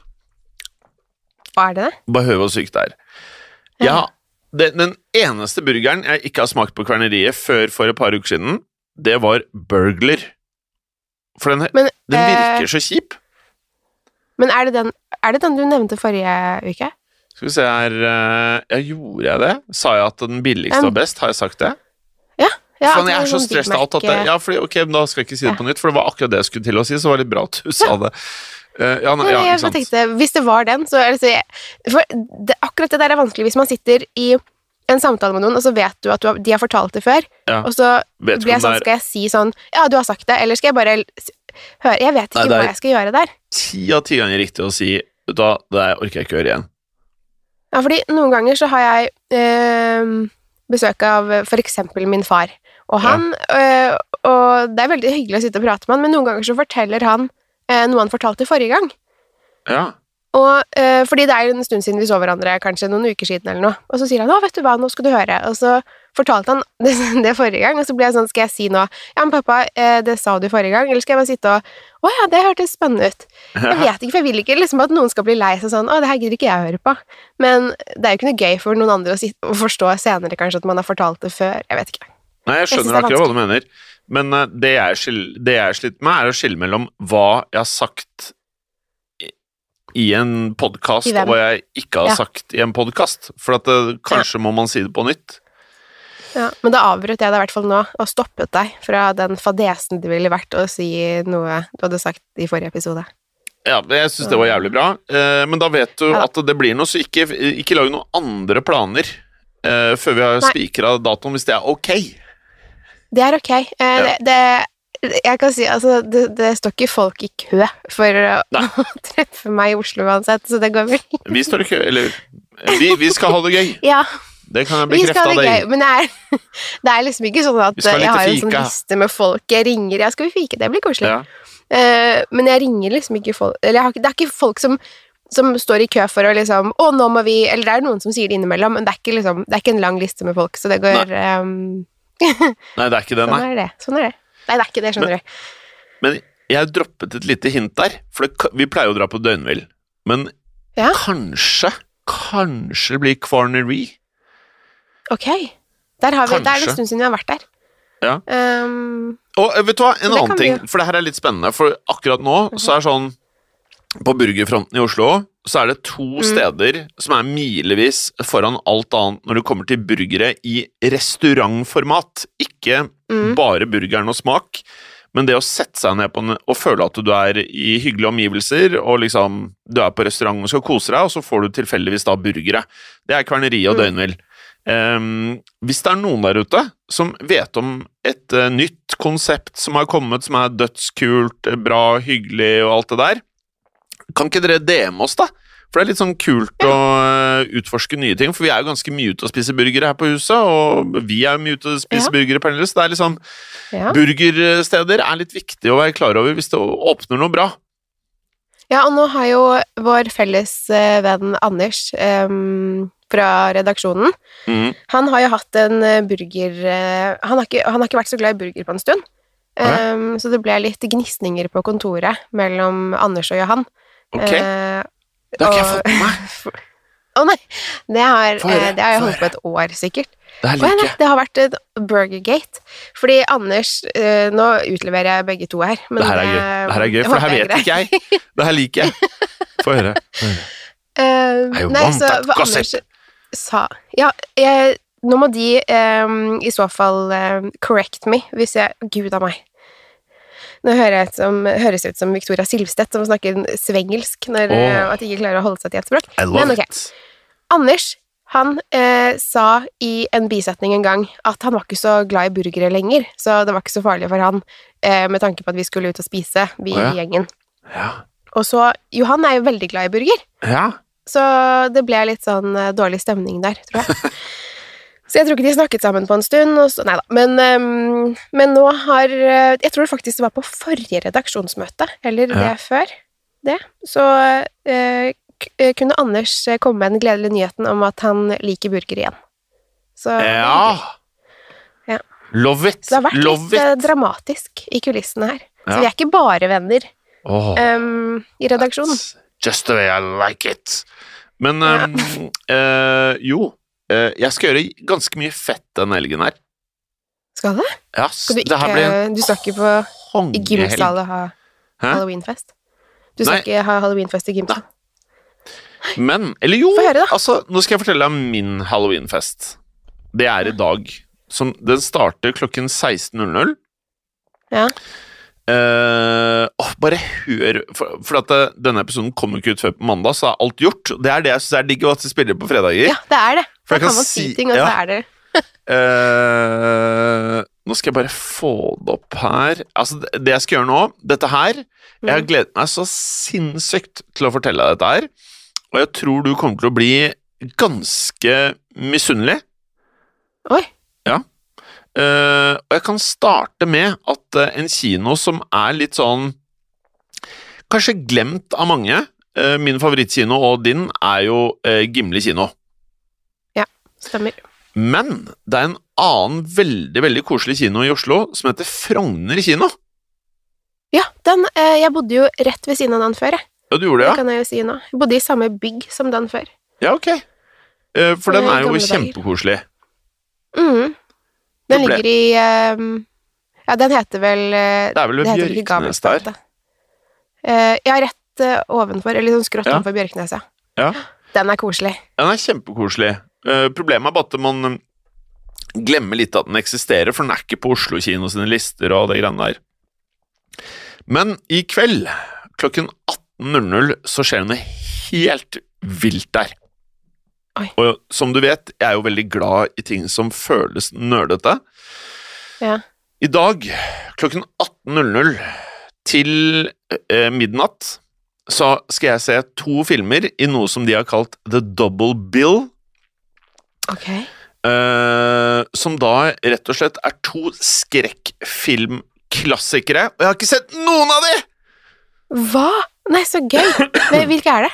C: Hva er det, det?
B: Bare hør hvor sykt det er.
C: Ja.
B: Ja, det, den eneste burgeren jeg ikke har smakt på kverneriet før for et par uker siden, det var burgler. For den,
C: Men,
B: den virker
C: eh,
B: så kjip.
C: Men er det den, er det den du nevnte forrige uke?
B: Skal vi se her eh, Ja, gjorde jeg det? Sa jeg at den billigste
C: Em,
B: var best? Har jeg sagt det?
C: Ja,
B: Faen, jeg
C: at det
B: er så
C: sånn Big
B: stressa
C: Mac,
B: alt at det,
C: eh,
B: Ja, fordi, ok, men da skal jeg ikke si det
C: Ja.
B: på nytt, for det var akkurat det jeg skulle til å si, så var det bra at du sa det. Eh, ja, nei,
C: Nei,
B: ja,
C: jeg
B: ikke
C: bare
B: sant.
C: tenkte, hvis det var den, så er det så jeg, For det, akkurat det der er vanskelig hvis man sitter i en samtale med noen, og så vet du at du har, de har fortalt det før,
B: Ja.
C: og så
B: Vet
C: blir
B: ikke
C: jeg
B: om det
C: sånn,
B: er
C: skal jeg si sånn Ja, du har sagt det, eller skal jeg bare s- høre Jeg vet ikke
B: Nei, det er-
C: hva jeg skal gjøre der.
B: ti av ti ganger riktig å si Vet du hva, det der orker jeg ikke høre igjen.
C: Ja, fordi noen ganger så har jeg eh, besøk av eh, for eksempel min far, og han eh, Og det er veldig hyggelig å sitte og prate med han, men noen ganger så forteller han eh, noe han fortalte forrige gang.
B: Ja.
C: Og, eh, fordi det er jo en stund siden vi så hverandre, kanskje noen uker siden eller noe. Og så sier han 'Å, vet du hva, nå skal du høre'. Og så fortalte han det, det forrige gang, og så ble jeg sånn 'Skal jeg si nå 'Ja, men pappa, eh, det sa du forrige gang', eller skal jeg bare sitte og 'Å ja, det hørtes spennende ut'. Jeg vet ikke, for jeg vil ikke liksom at noen skal bli lei seg sånn 'Å, det her gidder ikke jeg å høre på'. Men det er jo ikke noe gøy for noen andre å, sit- å forstå senere, kanskje, at man har fortalt det før. Jeg vet ikke.
B: Nei, jeg
C: Jeg synes
B: skjønner
C: det er
B: akkurat hva du mener. Men eh, det jeg, skil- det jeg sliter med, er å skille mellom hva jeg har sagt i- i en podkast,
C: I hvem?
B: og hva jeg ikke har
C: Ja.
B: sagt i en podkast. For at eh, kanskje må man si det på nytt.
C: Ja, men da avbrøt jeg deg i hvert fall nå, og stoppet deg fra den fadesen det ville vært å si noe du hadde sagt i forrige episode.
B: Ja, men jeg syns det var jævlig bra. Eh, men da vet du
C: Mm. Ja da.
B: at det blir noe, så ikke, ikke lag noen andre planer eh, før vi har
C: Nei.
B: spikra datoen, hvis det er ok.
C: Det er ok. Eh,
B: Ja.
C: det, det, jeg kan si, altså, det, det står ikke folk i kø for å,
B: Nei.
C: å treffe meg i Oslo uansett, så det går vel
B: Vi står i kø, eller vi, vi skal ha det gøy.
C: Ja,
B: Det kan jeg
C: vi skal
B: bekrefte
C: ha
B: av
C: det
B: deg.
C: gøy, men det er, det er liksom ikke sånn at
B: Vi skal
C: eh, jeg
B: litt
C: har en
B: fika.
C: sånn liste med folk jeg ringer Ja, skal vi fike? Det blir koselig.
B: Ja.
C: Eh, men jeg ringer liksom ikke folk Eller jeg har, ikke- det er ikke folk som, som står i kø for å liksom Å, nå må vi Eller det er noen som sier det innimellom, men det er ikke, liksom, det er ikke en lang liste med folk, så det går ehm,
B: Nei, det er ikke det, nei.
C: Sånn er det. Sånn er det. Nei, det er ikke det, skjønner du.
B: Men jeg droppet et lite hint der, for det, ka- vi pleier jo å dra på døgnvill. Men
C: Ja.
B: kanskje, kanskje blir Quarnery.
C: Ok. Der har vi, det er
B: Kanskje.
C: en stund siden vi har vært der.
B: Ja.
C: Ehm,
B: Og eh, vet du hva, en
C: Det kan
B: annen
C: vi Mhm.
B: ting,
C: jo.
B: for det her er litt spennende, for akkurat nå så er sånn På burgerfronten i Oslo så er det to
C: Mhm.
B: steder som er milevis foran alt annet når det kommer til burgere i restaurantformat. Ikke
C: mm,
B: bare burgeren og smak, men det å sette seg ned på en, og føle at du er i hyggelige omgivelser, og liksom du er på restaurant og skal kose deg, og så får du tilfeldigvis da burgere. Det er kverneri og
C: Mm.
B: døgnvill. Ehm, hvis det er noen der ute som vet om et eh, nytt konsept som har kommet, som er dødskult, eh, bra, hyggelig og alt det der, kan ikke dere DM oss, da? For det er litt sånn kult å eh, utforske nye ting, for vi er jo ganske mye ute og spiser burgere her på huset, og vi er jo mye ute og spiser
C: Ja.
B: burgere, Pernille, så det er liksom
C: ja.
B: Burgersteder er litt viktig å være klar over hvis det åpner noe bra.
C: ja, og nå har jo vår felles eh, venn Anders ehm, fra redaksjonen
B: Mm,
C: Han har jo hatt en eh, burger eh, han har, ikke, han har ikke vært så glad i burger på en stund. Ehm, så det ble litt gnisninger på kontoret mellom Anders og Johan.
B: Ok,
C: Eh,
B: det har ikke jeg
C: og-
B: fått med meg.
C: Å nei! Det har,
B: Få høre,
C: eh, det har jeg
B: få
C: holdt på et år, sikkert.
B: Det her
C: Å, ja,
B: liker
C: nei,
B: jeg.
C: det har vært et Burgergate. Fordi Anders eh, Nå utleverer jeg begge to her. men,
B: Det her er gøy, det her er gøy,
C: eh,
B: for det her
C: håper
B: vet ikke jeg. Det her liker jeg. Få høre. Få høre.
C: Eh,
B: I
C: nei,
B: want
C: så
B: that
C: hva Anders
B: gossip.
C: sa Ja, jeg, nå må de eh, i så fall eh, correct me hvis jeg Gud av meg. Nå hører jeg ut som, høres jeg ut som Victoria Silvstedt som snakker svengelsk når
B: Åh.
C: eh, at de ikke klarer å holde seg til ett språk.
B: I love
C: Men, ok.
B: it.
C: Anders han eh, sa i en bisetning en gang at han var ikke så glad i burgere lenger, så det var ikke så farlig for han eh, med tanke på at vi skulle ut og spise, vi
B: Å, ja.
C: i gjengen.
B: Ja.
C: Og så Johan er jo veldig glad i burger,
B: ja.
C: så det ble litt sånn eh, dårlig stemning der, tror jeg. Så jeg tror ikke de snakket sammen på en stund. Og så, nei da. Men, ehm, men nå har eh, Jeg tror det faktisk det var på forrige redaksjonsmøte, eller
B: Ja.
C: det før det. Så eh, k- eh, kunne Anders eh, komme med den gledelige nyheten om at han liker burger igjen. Så,
B: ja.
C: Ja.
B: Love it.
C: så det har vært
B: Love
C: litt eh,
B: it.
C: dramatisk i kulissene her. Så
B: Ja.
C: vi er ikke bare venner
B: Åh.
C: ehm, i redaksjonen.
B: It's Just the way I like it. Men um, eh, jo, eh, jeg skal gjøre ganske mye fett den helgen her.
C: Skal det?
B: Ja,
C: Skal du
B: det her blir
C: ikke
B: en
C: Du skal ikke på i
B: kongehelg.
C: gymsal og ha
B: Hæ?
C: halloweenfest? Du skal
B: Nei.
C: ikke ha halloweenfest i gymsal?
B: Men Eller jo,
C: Få høre, da.
B: altså, nå skal jeg fortelle deg min halloweenfest. Det er i dag. Som, den starter klokken 16.00.
C: Ja.
B: Eh, åh, bare hør For, for at eh, denne episoden kommer ikke ut før på mandag, så er alt gjort. Det er det jeg syns er digg, og at de spiller på fredager.
C: Ja, det er det.
B: For
C: Da
B: jeg
C: kan
B: kan
C: man si
B: si-
C: ting, og så
B: ja.
C: er det
B: Eh, nå skal jeg bare få det opp her. Altså, det- det jeg skal gjøre nå Dette her Jeg
C: Mm.
B: har gledet meg så sinnssykt til å fortelle deg dette her. Og jeg tror du kommer til å bli ganske misunnelig.
C: Oi.
B: Ja. Eh, og jeg kan starte med at eh, en kino som er litt sånn Kanskje glemt av mange. eh, min favorittkino og din er jo eh, Gimle kino.
C: Stemmer.
B: Men det er en annen veldig veldig koselig kino i Oslo som heter Frogner kino.
C: Ja, den, eh, jeg bodde jo rett ved siden av den før, jeg.
B: Ja, du gjorde
C: Det
B: det?
C: kan jeg jo si nå. Jeg bodde i samme bygg som den før.
B: Ja, ja ok. Eh, For den
C: Det er
B: er jo
C: gamle dager.
B: kjempekoselig.
C: Mhm. Den
B: Problem.
C: ligger i eh, Ja, den heter vel eh,
B: Det er vel
C: Det
B: ved
C: heter vel ikke
B: Bjørknes der.
C: Gabelsgata. Eh, ja, rett eh, ovenfor, eller sånn skrått
B: Ja.
C: ovenfor Bjørknes, ja.
B: Ja.
C: Den er koselig.
B: Den er kjempekoselig. Eh, Problemet er bare at man glemmer litt at den eksisterer, for den er ikke på Oslo Kino sine lister og det greiene der. Men i kveld klokken 18.00 så skjer det noe helt vilt der.
C: Oi.
B: Og som du vet, jeg er jo veldig glad i ting som føles nerdete.
C: Ja.
B: I dag klokken 18.00 til eh, midnatt så skal jeg se to filmer i noe som de har kalt The Double Bill.
C: Ok.
B: Eh, som da rett og slett er to skrekkfilmklassikere. Og jeg har ikke sett noen av de!
C: Hva? Nei, så gøy! Men Hvilke er det?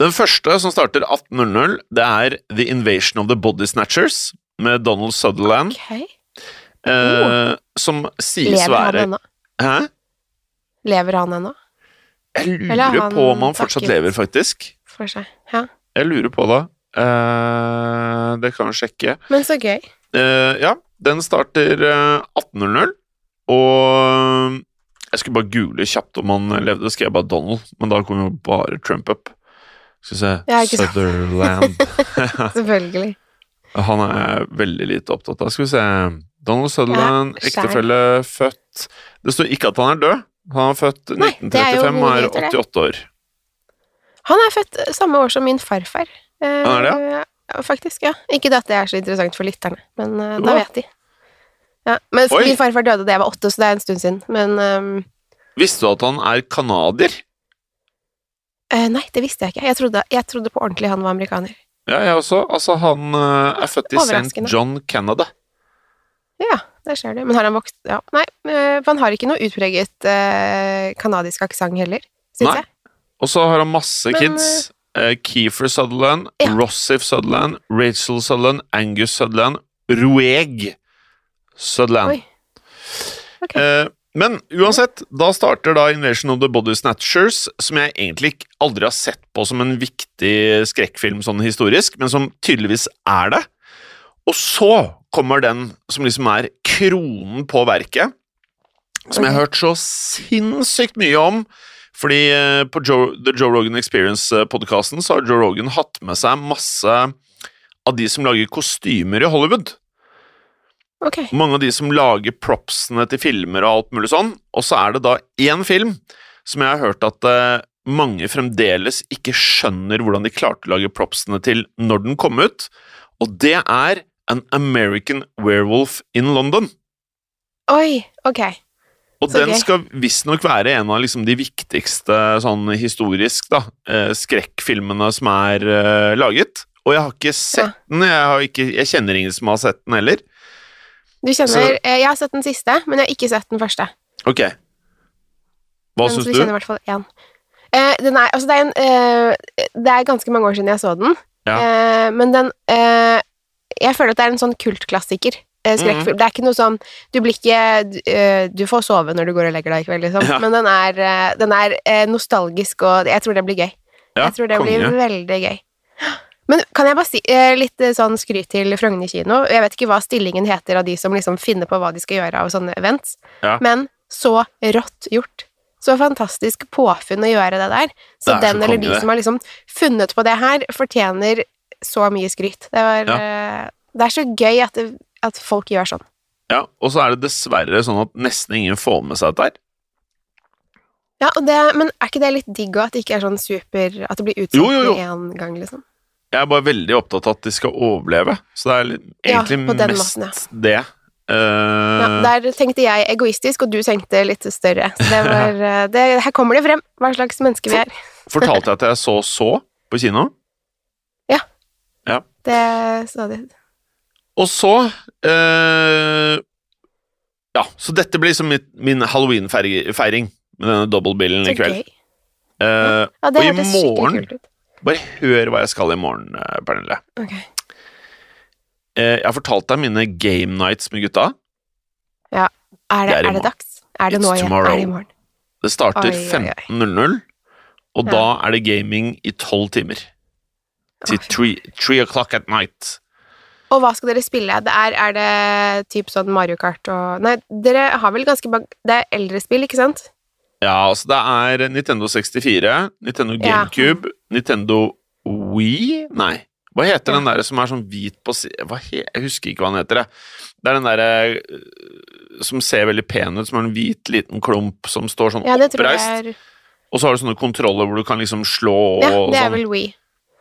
B: Den første som starter 18.00, det er The Invasion of the Body Snatchers med Donald Sutherland.
C: Ok. Oh.
B: eh, som sies
C: Lever han
B: være
C: ennå?
B: Hæ?
C: Lever han ennå?
B: Jeg
C: Eller
B: lurer
C: er han
B: på om han fortsatt
C: takket?
B: lever, faktisk.
C: For seg. Ja.
B: Jeg lurer på det. Eh, det kan vi sjekke.
C: Men så gøy.
B: Eh, ja, den starter eh, 18.00, og eh, jeg skulle bare google kjapt om han eh, levde. Det skrev jeg bare Donald, men da kom jo bare Trump opp. Skal vi se
C: Ja, ikke sant.
B: Sutherland.
C: Selvfølgelig.
B: Han er veldig lite opptatt av. Skal vi se Donald Sutherland,
C: Ja, skjær.
B: ektefelle, født Det står ikke at han er død. Han er født
C: Nei, det er jo
B: 1935 og er
C: godnyheter, det.
B: 88 år.
C: Han er født samme år som min farfar. Eh,
B: Han er det,
C: ja, Faktisk, ja. Ikke at det er så interessant for lytterne, men eh,
B: Jo
C: da
B: da.
C: vet de. Ja. Men
B: Oi.
C: min farfar døde da jeg var åtte, så det er en stund siden. Men ehm,
B: Visste du at han er canadier?
C: eh, nei, det visste jeg ikke. Jeg trodde, jeg trodde på ordentlig han var amerikaner.
B: Ja, jeg også. Altså, han eh, er født i St.
C: Overraskende.
B: John, Canada.
C: Ja, der ser du. Men har han vokst ja. Nei, eh, for han har ikke noe utpreget eh, kanadisk aksent heller, syns
B: Nei.
C: jeg.
B: Og så har han masse
C: Men,
B: kids. Eh, Kiefer Sutherland,
C: Ja.
B: Rossif Sutherland, Rachel Sutherland, Angus Sutherland, Rueg Sutherland.
C: Oi. Ok.
B: Eh, men uansett, da starter da Invasion of the Body Snatchers, som jeg egentlig ikke- aldri har sett på som en viktig skrekkfilm sånn historisk, men som tydeligvis er det. Og så kommer den som liksom er kronen på verket, som jeg har hørt så sinnssykt mye om. Fordi eh, på Joe, The Joe Rogan Experience-podkasten så har Joe Rogan hatt med seg masse av de som lager kostymer i Hollywood.
C: Ok.
B: Mange av de som lager propsene til filmer og alt mulig sånn. Og så er det da én film som jeg har hørt at eh, mange fremdeles ikke skjønner hvordan de klarte å lage propsene til når den kom ut, og det er An American Werewolf in London.
C: Oi, ok.
B: Og
C: Så
B: den
C: gøy.
B: skal visstnok være en av liksom de viktigste sånn historisk da, eh, skrekkfilmene som er eh, laget. Og jeg har ikke sett den, jeg, har ikke, jeg kjenner ingen som har sett den heller.
C: Du kjenner
B: Så-
C: eh, Jeg har sett den siste, men jeg har ikke sett den første.
B: Ok. Hva
C: Men
B: syns
C: så
B: du?
C: kjenner jeg i hvert fall én. Eh, den er, altså det, er en, eh, det er ganske mange år siden jeg så den,
B: Ja.
C: eh, men den eh, Jeg føler at det er en sånn kultklassiker. Eh, skrekkfilm.
B: Mhm.
C: Det er ikke noe sånn Du blir ikke du, eh, du får sove når du går og legger deg i kveld, liksom.
B: Ja.
C: Men den er, eh, den er eh, nostalgisk, og jeg tror det blir gøy.
B: Ja,
C: jeg tror det
B: konge.
C: blir veldig gøy. Men kan jeg bare si eh, litt eh, sånn skryt til Frogner kino? Jeg vet ikke hva stillingen heter av de som liksom finner på hva de skal gjøre av sånne events,
B: Ja.
C: men så rått gjort. Så fantastisk påfunn å gjøre det der. Så
B: Det er så
C: den eller
B: konge,
C: de
B: det.
C: som har liksom funnet på det her, fortjener så mye skryt. Det, var, eh, det er så gøy at, det, at folk gjør sånn.
B: Ja, og så er det dessverre sånn at nesten ingen får med seg dette her.
C: Ja, og det, Men er ikke det litt digg òg, at det ikke er sånn super At det blir utsatt
B: Jo, jo, jo.
C: med en gang, liksom?
B: Jeg er bare veldig opptatt av at de skal overleve, så det er litt-
C: Ja,
B: egentlig
C: på den
B: mest
C: måten,
B: det. Eh,
C: Ja, der tenkte jeg egoistisk, og du tenkte litt større. Så det var eh, det, Her kommer det frem hva slags mennesker vi er.
B: Fortalte jeg at jeg så så på kino?
C: Det sa de.
B: Og så eh, Ja, så dette blir liksom mitt, min halloween-feiring med denne dobbeltbillen i
C: Så
B: kveld.
C: gøy.
B: Eh,
C: Ja,
B: Og
C: det
B: i
C: hørtes skikkelig
B: morgen-
C: kult ut.
B: bare hør hva jeg skal i morgen, eh, Pernille.
C: Ok.
B: Eh, jeg har fortalt deg mine game nights med gutta.
C: Er
B: Det er
C: det,
B: i
C: er det
B: morgen.
C: dags? Er det
B: It's
C: nå igjen? Er
B: tomorrow.
C: det i morgen?
B: Det starter
C: Oi, oi, oi.
B: 15.00, og da er det gaming i tolv timer. Til
C: Å, fy.
B: three, three o'clock at night.
C: Og hva skal dere spille? Det er, er det typ sånn Mario Kart og Nei, dere har vel ganske bag... Det er eldre spill, ikke sant?
B: Ja, altså det er Nintendo 64, Nintendo
C: Ja.
B: GameCube, Nintendo Wii Nei, Hva heter den der som er sånn hvit på si- hva he, Jeg husker ikke hva den heter. jeg. Det er den derre som ser veldig pen ut, som er en hvit liten klump som står sånn
C: Ja, det tror jeg
B: oppreist.
C: er
B: Og så har du sånne kontroller hvor du kan liksom slå
C: Ja,
B: og
C: det er
B: sånn.
C: vel We.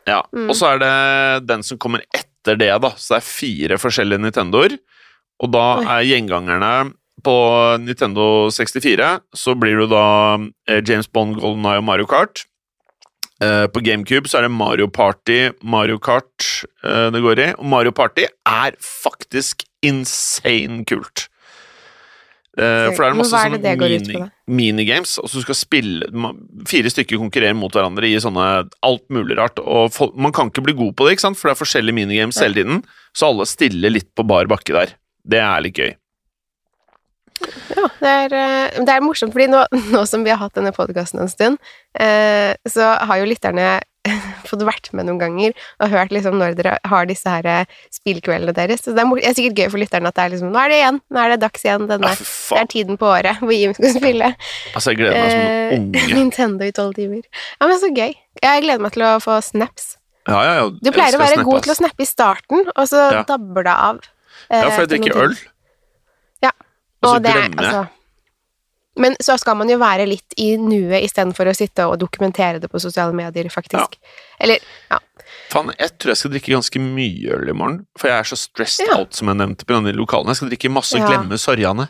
B: Ja,
C: Mm.
B: og så er det den som kommer etter det, da. Så det er fire forskjellige Nintendoer. Og da
C: Oi.
B: er gjengangerne på Nintendo 64, så blir det da eh, James Bond, Golden Eye og Mario Kart. Eh, På GameCube så er det Mario Party, Mario Kart eh, det går i. Og Mario Party er faktisk insane kult. Eh, For det er
C: Men
B: masse
C: hva er det
B: sånne
C: det går ut på,
B: mini-
C: da?
B: minigames, og så skal spille ma- Fire stykker konkurrere mot hverandre i sånne alt mulig rart. Og folk, man kan ikke bli god på det, ikke sant? for det er forskjellige minigames hele tiden. Så alle stiller litt på bar bakke der. Det er litt gøy.
C: Ja, det er, eh, det er morsomt, fordi nå, nå som vi har hatt denne podkasten en stund, eh, så har jo lytterne fått vært med noen ganger og hørt liksom når dere har disse her eh, spillkveldene deres. Så det er, mor- det er sikkert gøy for lytterne at det er liksom Nå er det igjen! Nå er det dags igjen.
B: Ja,
C: Denne.
B: fy
C: Det
B: faen.
C: er tiden på året hvor Jim skal spille
B: Altså, jeg gleder meg
C: eh,
B: som en unge.
C: Nintendo i tolv timer. Ja, men så gøy. Jeg gleder meg til å få snaps.
B: Ja, ja, ja.
C: Du pleier å være god til å
B: snappe.
C: snappe i starten, og så
B: Ja.
C: dabber det av.
B: ass.
C: eh,
B: Ja, for jeg
C: etter noen
B: drikker
C: timer.
B: øl.
C: Ja,
B: Og så
C: Og det er,
B: glemmer jeg.
C: altså, men så skal man jo være litt i nuet istedenfor å sitte og dokumentere det på sosiale medier, faktisk. Eller ja.
B: Faen, jeg tror jeg skal drikke ganske mye øl i morgen, for jeg er så stressed
C: Ja.
B: out, som jeg nevnte, på denne lokalen. Jeg skal drikke masse og
C: Ja.
B: glemme sorgene.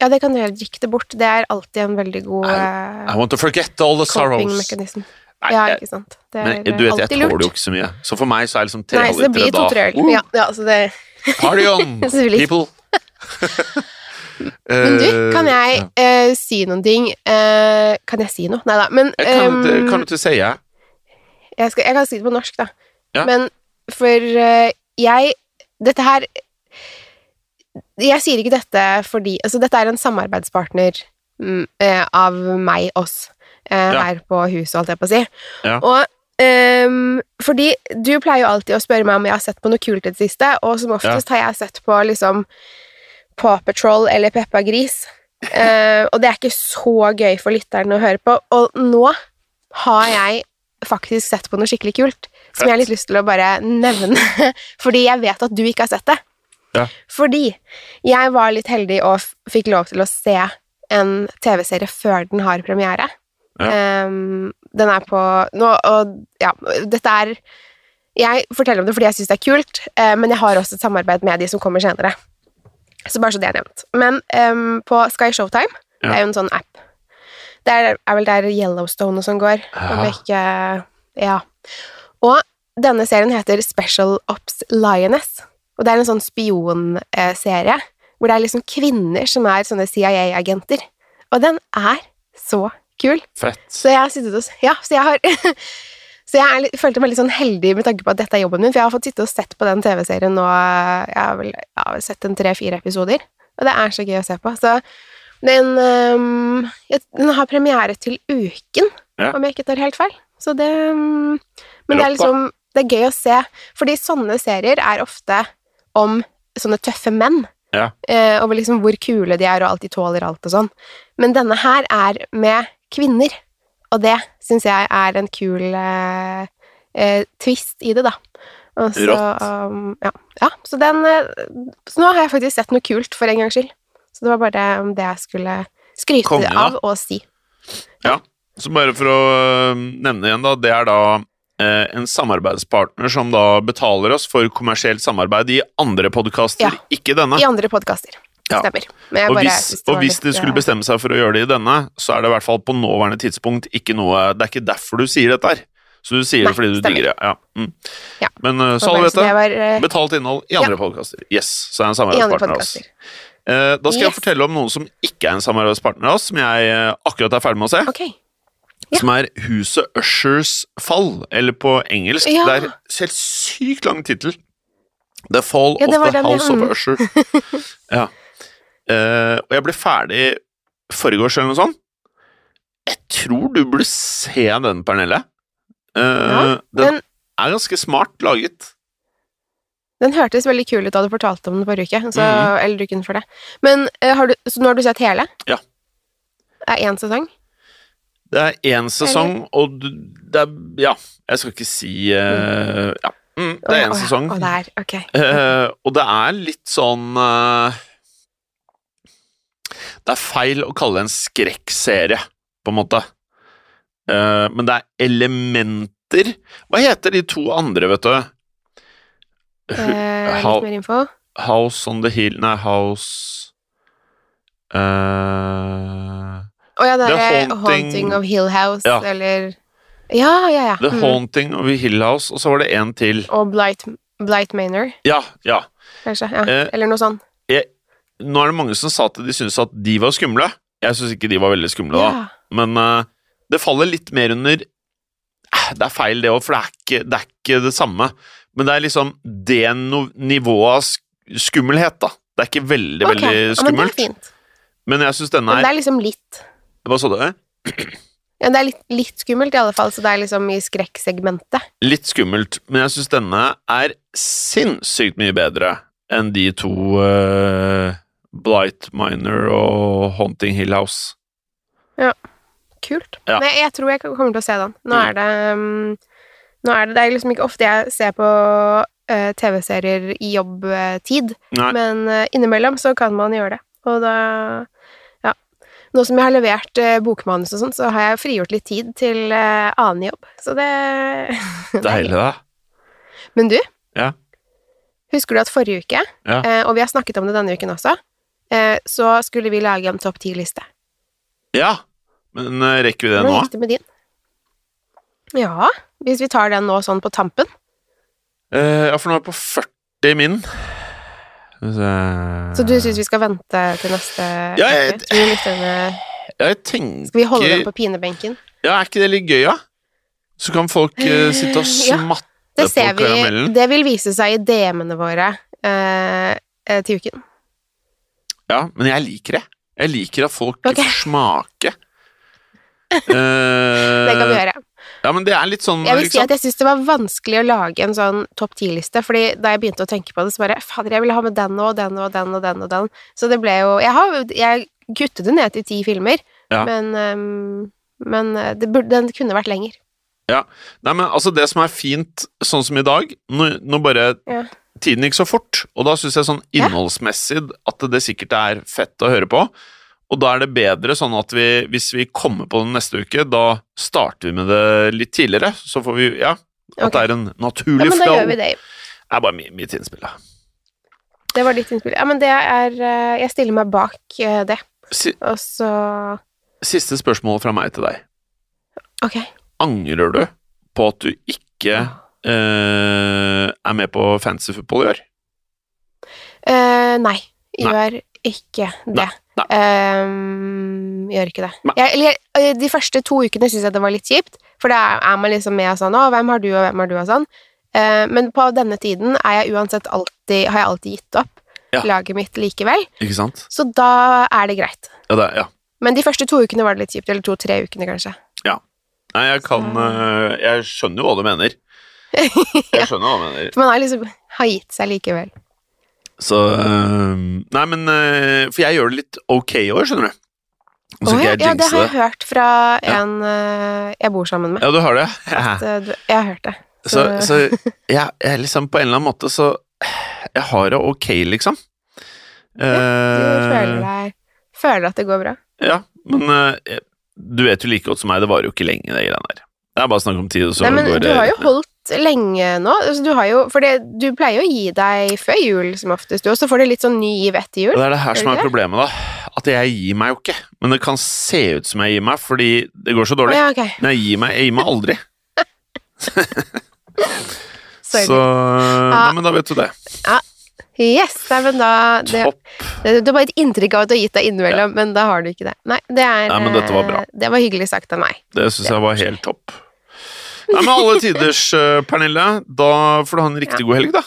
C: ja, det kan du gjøre. Drikk det bort. Det er alltid en veldig god
B: I want to forget all the sorrows.
C: coping-mekanisme.
B: Nei,
C: Ja,
B: jeg-
C: ikke sant. Det er eh,
B: Men du vet, jeg
C: alltid
B: tåler
C: lurt.
B: jo ikke så mye. Så for meg så er liksom tre
C: Nei, så det
B: halvlitere
C: blir
B: da Oh,
C: to-tre øl.
B: Woo!
C: Ja, ja, så det
B: Party on,
C: Så det blir-
B: people! uh,
C: Men du, kan jeg
B: Ja.
C: eh, si noen ting? Eh, kan jeg si noe? Nei da. Men
B: Eh, Kan, du-
C: ehm,
B: kan du ikke si jeg?
C: jeg, skal, jeg kan si det på norsk, da.
B: Ja.
C: Men for eh, jeg Dette her Jeg sier ikke dette fordi Altså, dette er en samarbeidspartner mm, eh, av meg, oss, eh,
B: Ja.
C: her på huset, holdt jeg på å si.
B: Ja.
C: Og ehm, fordi du pleier jo alltid å spørre meg om jeg har sett på noe kult i det siste, og som oftest har jeg sett på liksom Paw Patrol eller Peppa Gris. Eh, og det er ikke så gøy for lytterne å høre på. Og nå har jeg faktisk sett på noe skikkelig kult, som jeg har litt lyst til å bare nevne. Fordi jeg vet at du ikke har sett det.
B: Ja.
C: Fordi jeg var litt heldig og f- fikk lov til å se en TV-serie før den har premiere.
B: Ja.
C: Ehm, den er på nå, og ja, dette er Jeg forteller om det fordi jeg syns det er kult, eh, men jeg har også et samarbeid med de som kommer senere. Så bare så det er nevnt. Men ehm, på Sky Showtime,
B: Ja.
C: det er jo en sånn app Det er, er vel der Yellowstone og sånn går. Om jeg ikke Ja. Og denne serien heter Special Ops Lioness. Og det er en sånn spionserie hvor det er liksom kvinner som er sånne CIA-agenter. Og den er så kul.
B: Fett.
C: Så jeg har sittet og Ja, så jeg har Så jeg er, litt- følte meg litt sånn heldig med tanke på at dette er jobben min, for jeg har fått sitte og sett på den TV-serien nå Jeg har vel jeg har vel sett en tre-fire episoder, og det er så gøy å se på. Så den, øhm, jeg- den har premiere til uken,
B: Ja.
C: om jeg ikke tar helt feil. Så det øhm, Men det er
B: Rått, da.
C: liksom Det er gøy å se, fordi sånne serier er ofte om sånne tøffe menn.
B: Ja.
C: Eh, over liksom hvor kule de er, og alt de tåler, alt og sånn. Men denne her er med kvinner, og det syns jeg er en kul eh, eh, twist i det, da. Og så,
B: Rått.
C: um, ja. ja, så den eh, Så nå har jeg faktisk sett noe kult, for en gangs skyld. Så det var bare om det jeg skulle skryte
B: Konge, da.
C: av og si.
B: Så bare for å øh, nevne igjen, da. Det er da eh, en samarbeidspartner som da betaler oss for kommersielt samarbeid i andre podkaster,
C: Ja.
B: ikke denne.
C: I andre podkaster.
B: Ja.
C: Stemmer. Men jeg
B: Og
C: bare
B: hvis,
C: synes det
B: og
C: var
B: hvis
C: litt,
B: de skulle
C: eh,
B: bestemme seg for å gjøre det i denne, så er det i hvert fall på nåværende tidspunkt ikke noe Det er ikke derfor du sier dette her. Så du sier
C: Nei,
B: det fordi du
C: stemmer.
B: digger det. Ja. Mm.
C: Ja.
B: Men uh,
C: det
B: så
C: var
B: alle
C: bare
B: vet
C: så det
B: det.
C: var, eh,
B: Betalt innhold i andre podkaster. Yes. Så er jeg en
C: I andre
B: samarbeidspartner av oss.
C: podkaster.
B: Eh, da skal jeg
C: Yes.
B: fortelle om noen som ikke er en samarbeidspartner av oss, som jeg eh, akkurat er ferdig med å se.
C: Ok. Ja.
B: Som er Huset Ushers Fall, eller på engelsk.
C: Ja.
B: Det er helt sykt lang tittel. The Fall
C: Ja, det var
B: of the
C: den, ja.
B: House
C: Mm.
B: of Usher. ja. Eh, og jeg ble ferdig foregårs eller noe sånt. Jeg tror du burde se den, Pernille. Eh,
C: Ja,
B: den
C: den-
B: er ganske smart laget.
C: Den hørtes veldig kul ut da du fortalte om den forrige uke. Så,
B: Mhm.
C: Eller uken før det. Men eh, har du, så nå har du sett hele?
B: Ja.
C: Det er én sesong?
B: Det er én sesong, og du- det er Ja, jeg skal ikke si eh, Ja. Mm. Det er én sesong.
C: Å, det er, ok.
B: Eh, og det er litt sånn eh, Det er feil å kalle det en skrekkserie, på en måte. Eh, men det er elementer Hva heter de to andre, vet du?
C: Eh,
B: How-
C: litt mer info.
B: House on the Hill Nei, House eh,
C: Å ja, det
B: The
C: er Haunting,
B: Haunting-
C: of Hill House,
B: Ja.
C: eller Ja, ja, ja.
B: The
C: Mm.
B: Haunting of Hill House, og så var det en til.
C: Og Blight, Blight Manor,
B: Ja, ja.
C: kanskje. Ja.
B: Eh,
C: eller noe sånt.
B: Nå er det mange som sa at de syntes at de var skumle. Jeg syns ikke de var veldig skumle, da.
C: Ja.
B: Men eh, det faller litt mer under Eh, Det er feil, det òg, for det er, ikke, det er ikke det samme. Men det er liksom det no nivået av sk- skummelhet, da. Det er ikke veldig,
C: Ok,
B: veldig
C: Ja, men det er
B: skummelt. Men,
C: fint.
B: jeg syns denne
C: Men det
B: her
C: er liksom litt
B: Hva sa du?
C: ja, Det er litt, litt skummelt, i alle fall, så det er liksom i skrekksegmentet.
B: Litt skummelt, men jeg syns denne er sinnssykt mye bedre enn de to eh, Blight Minor og Haunting Hill House.
C: Kult.
B: Ja.
C: Nei, jeg tror jeg kommer til å se den. Nå
B: Mm.
C: er det um, nå er det, det er liksom ikke ofte jeg ser på eh, TV-serier i jobbtid,
B: Nei,
C: men eh, innimellom så kan man gjøre det. Og da Ja. Nå som jeg har levert eh, bokmanus og sånn, så har jeg frigjort litt tid til eh, annen jobb. Så det
B: deilig, da.
C: Men du,
B: Ja.
C: husker du at forrige uke,
B: Ja.
C: eh, og vi har snakket om det denne uken også, eh, så skulle vi lage en topp ti-liste.
B: Ja, men eh, rekker vi det
C: Hvordan
B: nå?
C: gikk det med din? Ja, hvis vi tar den nå sånn på tampen.
B: Eh, ja, for nå er jeg på 40 min. Skal vi se.
C: Så du syns vi skal vente til neste
B: Ja, jeg-
C: uke? Tror du lytterne-
B: Ja, jeg tenker
C: Skal vi holde den på pinebenken?
B: Ja, er ikke det litt gøy, da? Så kan folk eh, sitte og
C: Ja.
B: smatte
C: Det
B: på
C: ser vi.
B: karamellen.
C: Det vil vise seg i DM-ene våre eh, eh, til uken.
B: Ja, men jeg liker det. Jeg liker at folk
C: Ok.
B: får smake.
C: Det kan vi
B: Eh,
C: gjøre.
B: ja, men det er litt sånn
C: Jeg vil
B: ikke
C: si
B: sant?
C: at jeg syns det var vanskelig å lage en sånn topp ti-liste, fordi da jeg begynte å tenke på det, så bare Fader, jeg ville ha med den og den og den og den og den. Så det ble jo Jeg, har, jeg kuttet det ned til ti filmer,
B: Ja.
C: men, ehm, men eh, det burde, den kunne vært lenger.
B: Nei, men altså Det som er fint, sånn som i dag Nå, nå bare
C: Ja.
B: Tiden gikk så fort, og da syns jeg sånn
C: Ja.
B: innholdsmessig at det sikkert er fett å høre på. Og da er det bedre sånn at vi, hvis vi kommer på den neste uke, da starter vi med det litt tidligere. Så får vi Ja. At
C: Ok.
B: det er en
C: Ja,
B: naturlig
C: men da
B: flow.
C: gjør vi det.
B: Det er bare mi- mitt innspill, da.
C: Det var ditt innspill. Ja, men det er eh, Jeg stiller meg bak eh, det,
B: Si,
C: og så
B: siste spørsmål fra meg til deg.
C: Ok.
B: Angrer du på at du ikke eh, er med på fancy football i år?
C: Eh, nei,
B: Nei.
C: gjør ikke det.
B: Nei, nei.
C: Ehm, gjør ikke det.
B: Nei.
C: Jeg, eller, jeg- de første to ukene syns jeg det var litt kjipt, for da er man liksom med og sånn Å, hvem har du, og hvem har du, og sånn. Eh, men på denne tiden er jeg uansett alltid, har jeg alltid gitt opp
B: Ja.
C: laget mitt likevel,
B: Ikke sant?
C: så da er det greit.
B: Ja, det, ja.
C: Men de første to ukene var det litt kjipt, eller to-tre ukene kanskje.
B: Nei, jeg kan eh, Jeg skjønner jo hva du mener. Jeg skjønner hva du mener.
C: For man har liksom har gitt seg likevel.
B: Så ehm, øhm, Nei, men øh, For jeg gjør det litt ok i år, skjønner du. Og så
C: Å,
B: ikke
C: ja,
B: jeg
C: ja, det
B: jinxer
C: har jeg
B: det.
C: hørt fra
B: Ja.
C: en eh, jeg bor sammen med.
B: Ja, du har det?
C: Eh, du- Jeg har hørt det.
B: Så, så jeg, jeg liksom på en eller annen måte så Jeg har det ok, liksom.
C: Du føler
B: Eh,
C: deg Føler at det går bra.
B: ja, men øh, jeg- du vet jo like godt som meg, det varer jo ikke lenge, det greiene der. Det er bare snakk om tid, og så
C: Nei, men
B: går
C: du
B: det
C: har jo
B: rett ned.
C: holdt lenge nå. Altså, du har jo, for det, du pleier jo å gi deg før jul som oftest, du, og så får du litt sånn ny giv etter
B: Og
C: jul.
B: det er det her
C: Gjør
B: som
C: du
B: er
C: ikke
B: problemet, da. At jeg gir meg jo ikke. Men det kan se ut som jeg gir meg, fordi det går så
C: Å,
B: dårlig.
C: ja, ok.
B: Men jeg gir meg, jeg gir meg aldri.
C: Sorry.
B: Så Nei, men da vet du det.
C: Yes, nei, men da det,
B: Topp.
C: det, det var et inntrykk av at du har gitt deg innimellom, men da har du ikke det. Nei, det er
B: Nei, men dette var bra.
C: eh, Det var hyggelig sagt av meg.
B: Det syns jeg var helt topp. Nei, men alle tiders, eh, Pernille. Da får du ha en riktig god helg, da.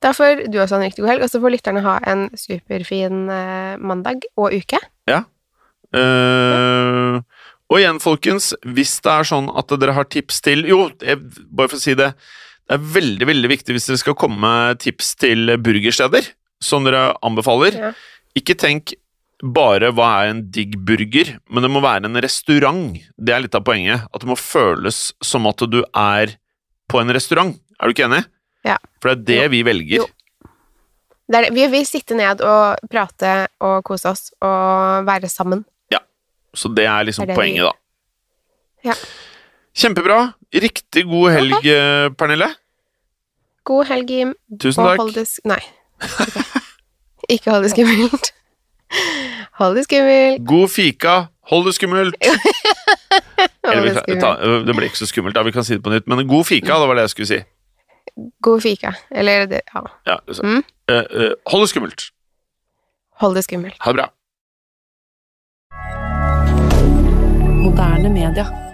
C: Da får du også ha en riktig god helg, og så får lytterne ha en superfin eh, mandag og uke.
B: Eh, og igjen, folkens, hvis det er sånn at dere har tips til Jo, jeg, bare for å si det. Det er veldig veldig viktig hvis dere skal komme med tips til burgersteder som dere anbefaler.
C: Ja.
B: Ikke tenk bare hva er en digg burger, men det må være en restaurant. Det er litt av poenget. At det må føles som at du er på en restaurant. Er du ikke enig?
C: Ja.
B: For det er det vi velger.
C: Jo. Det er det. Vi vil sitte ned og prate og kose oss og være sammen.
B: Så det er liksom
C: Det er det vi-
B: poenget, da.
C: Ja.
B: Kjempebra. Riktig god helg, eh, Pernille.
C: God helg, Jim.
B: Tusen
C: Og
B: takk.
C: hold det sk... Nei. Ikke hold det skummelt. Hold det skummelt.
B: God fika. Hold det skummelt. Eller,
C: Hold
B: vi
C: det
B: kan, ta,
C: skummelt. Mm.
B: det ble ikke så skummelt, da. Vi kan si det på nytt. Men god fika, det var det jeg skulle si.
C: God fika. Eller det Ja.
B: Ja, så.
C: Mm.
B: Eh, eh, hold det skummelt.
C: Hold det skummelt.
B: Ha det bra.
E: Moderne media.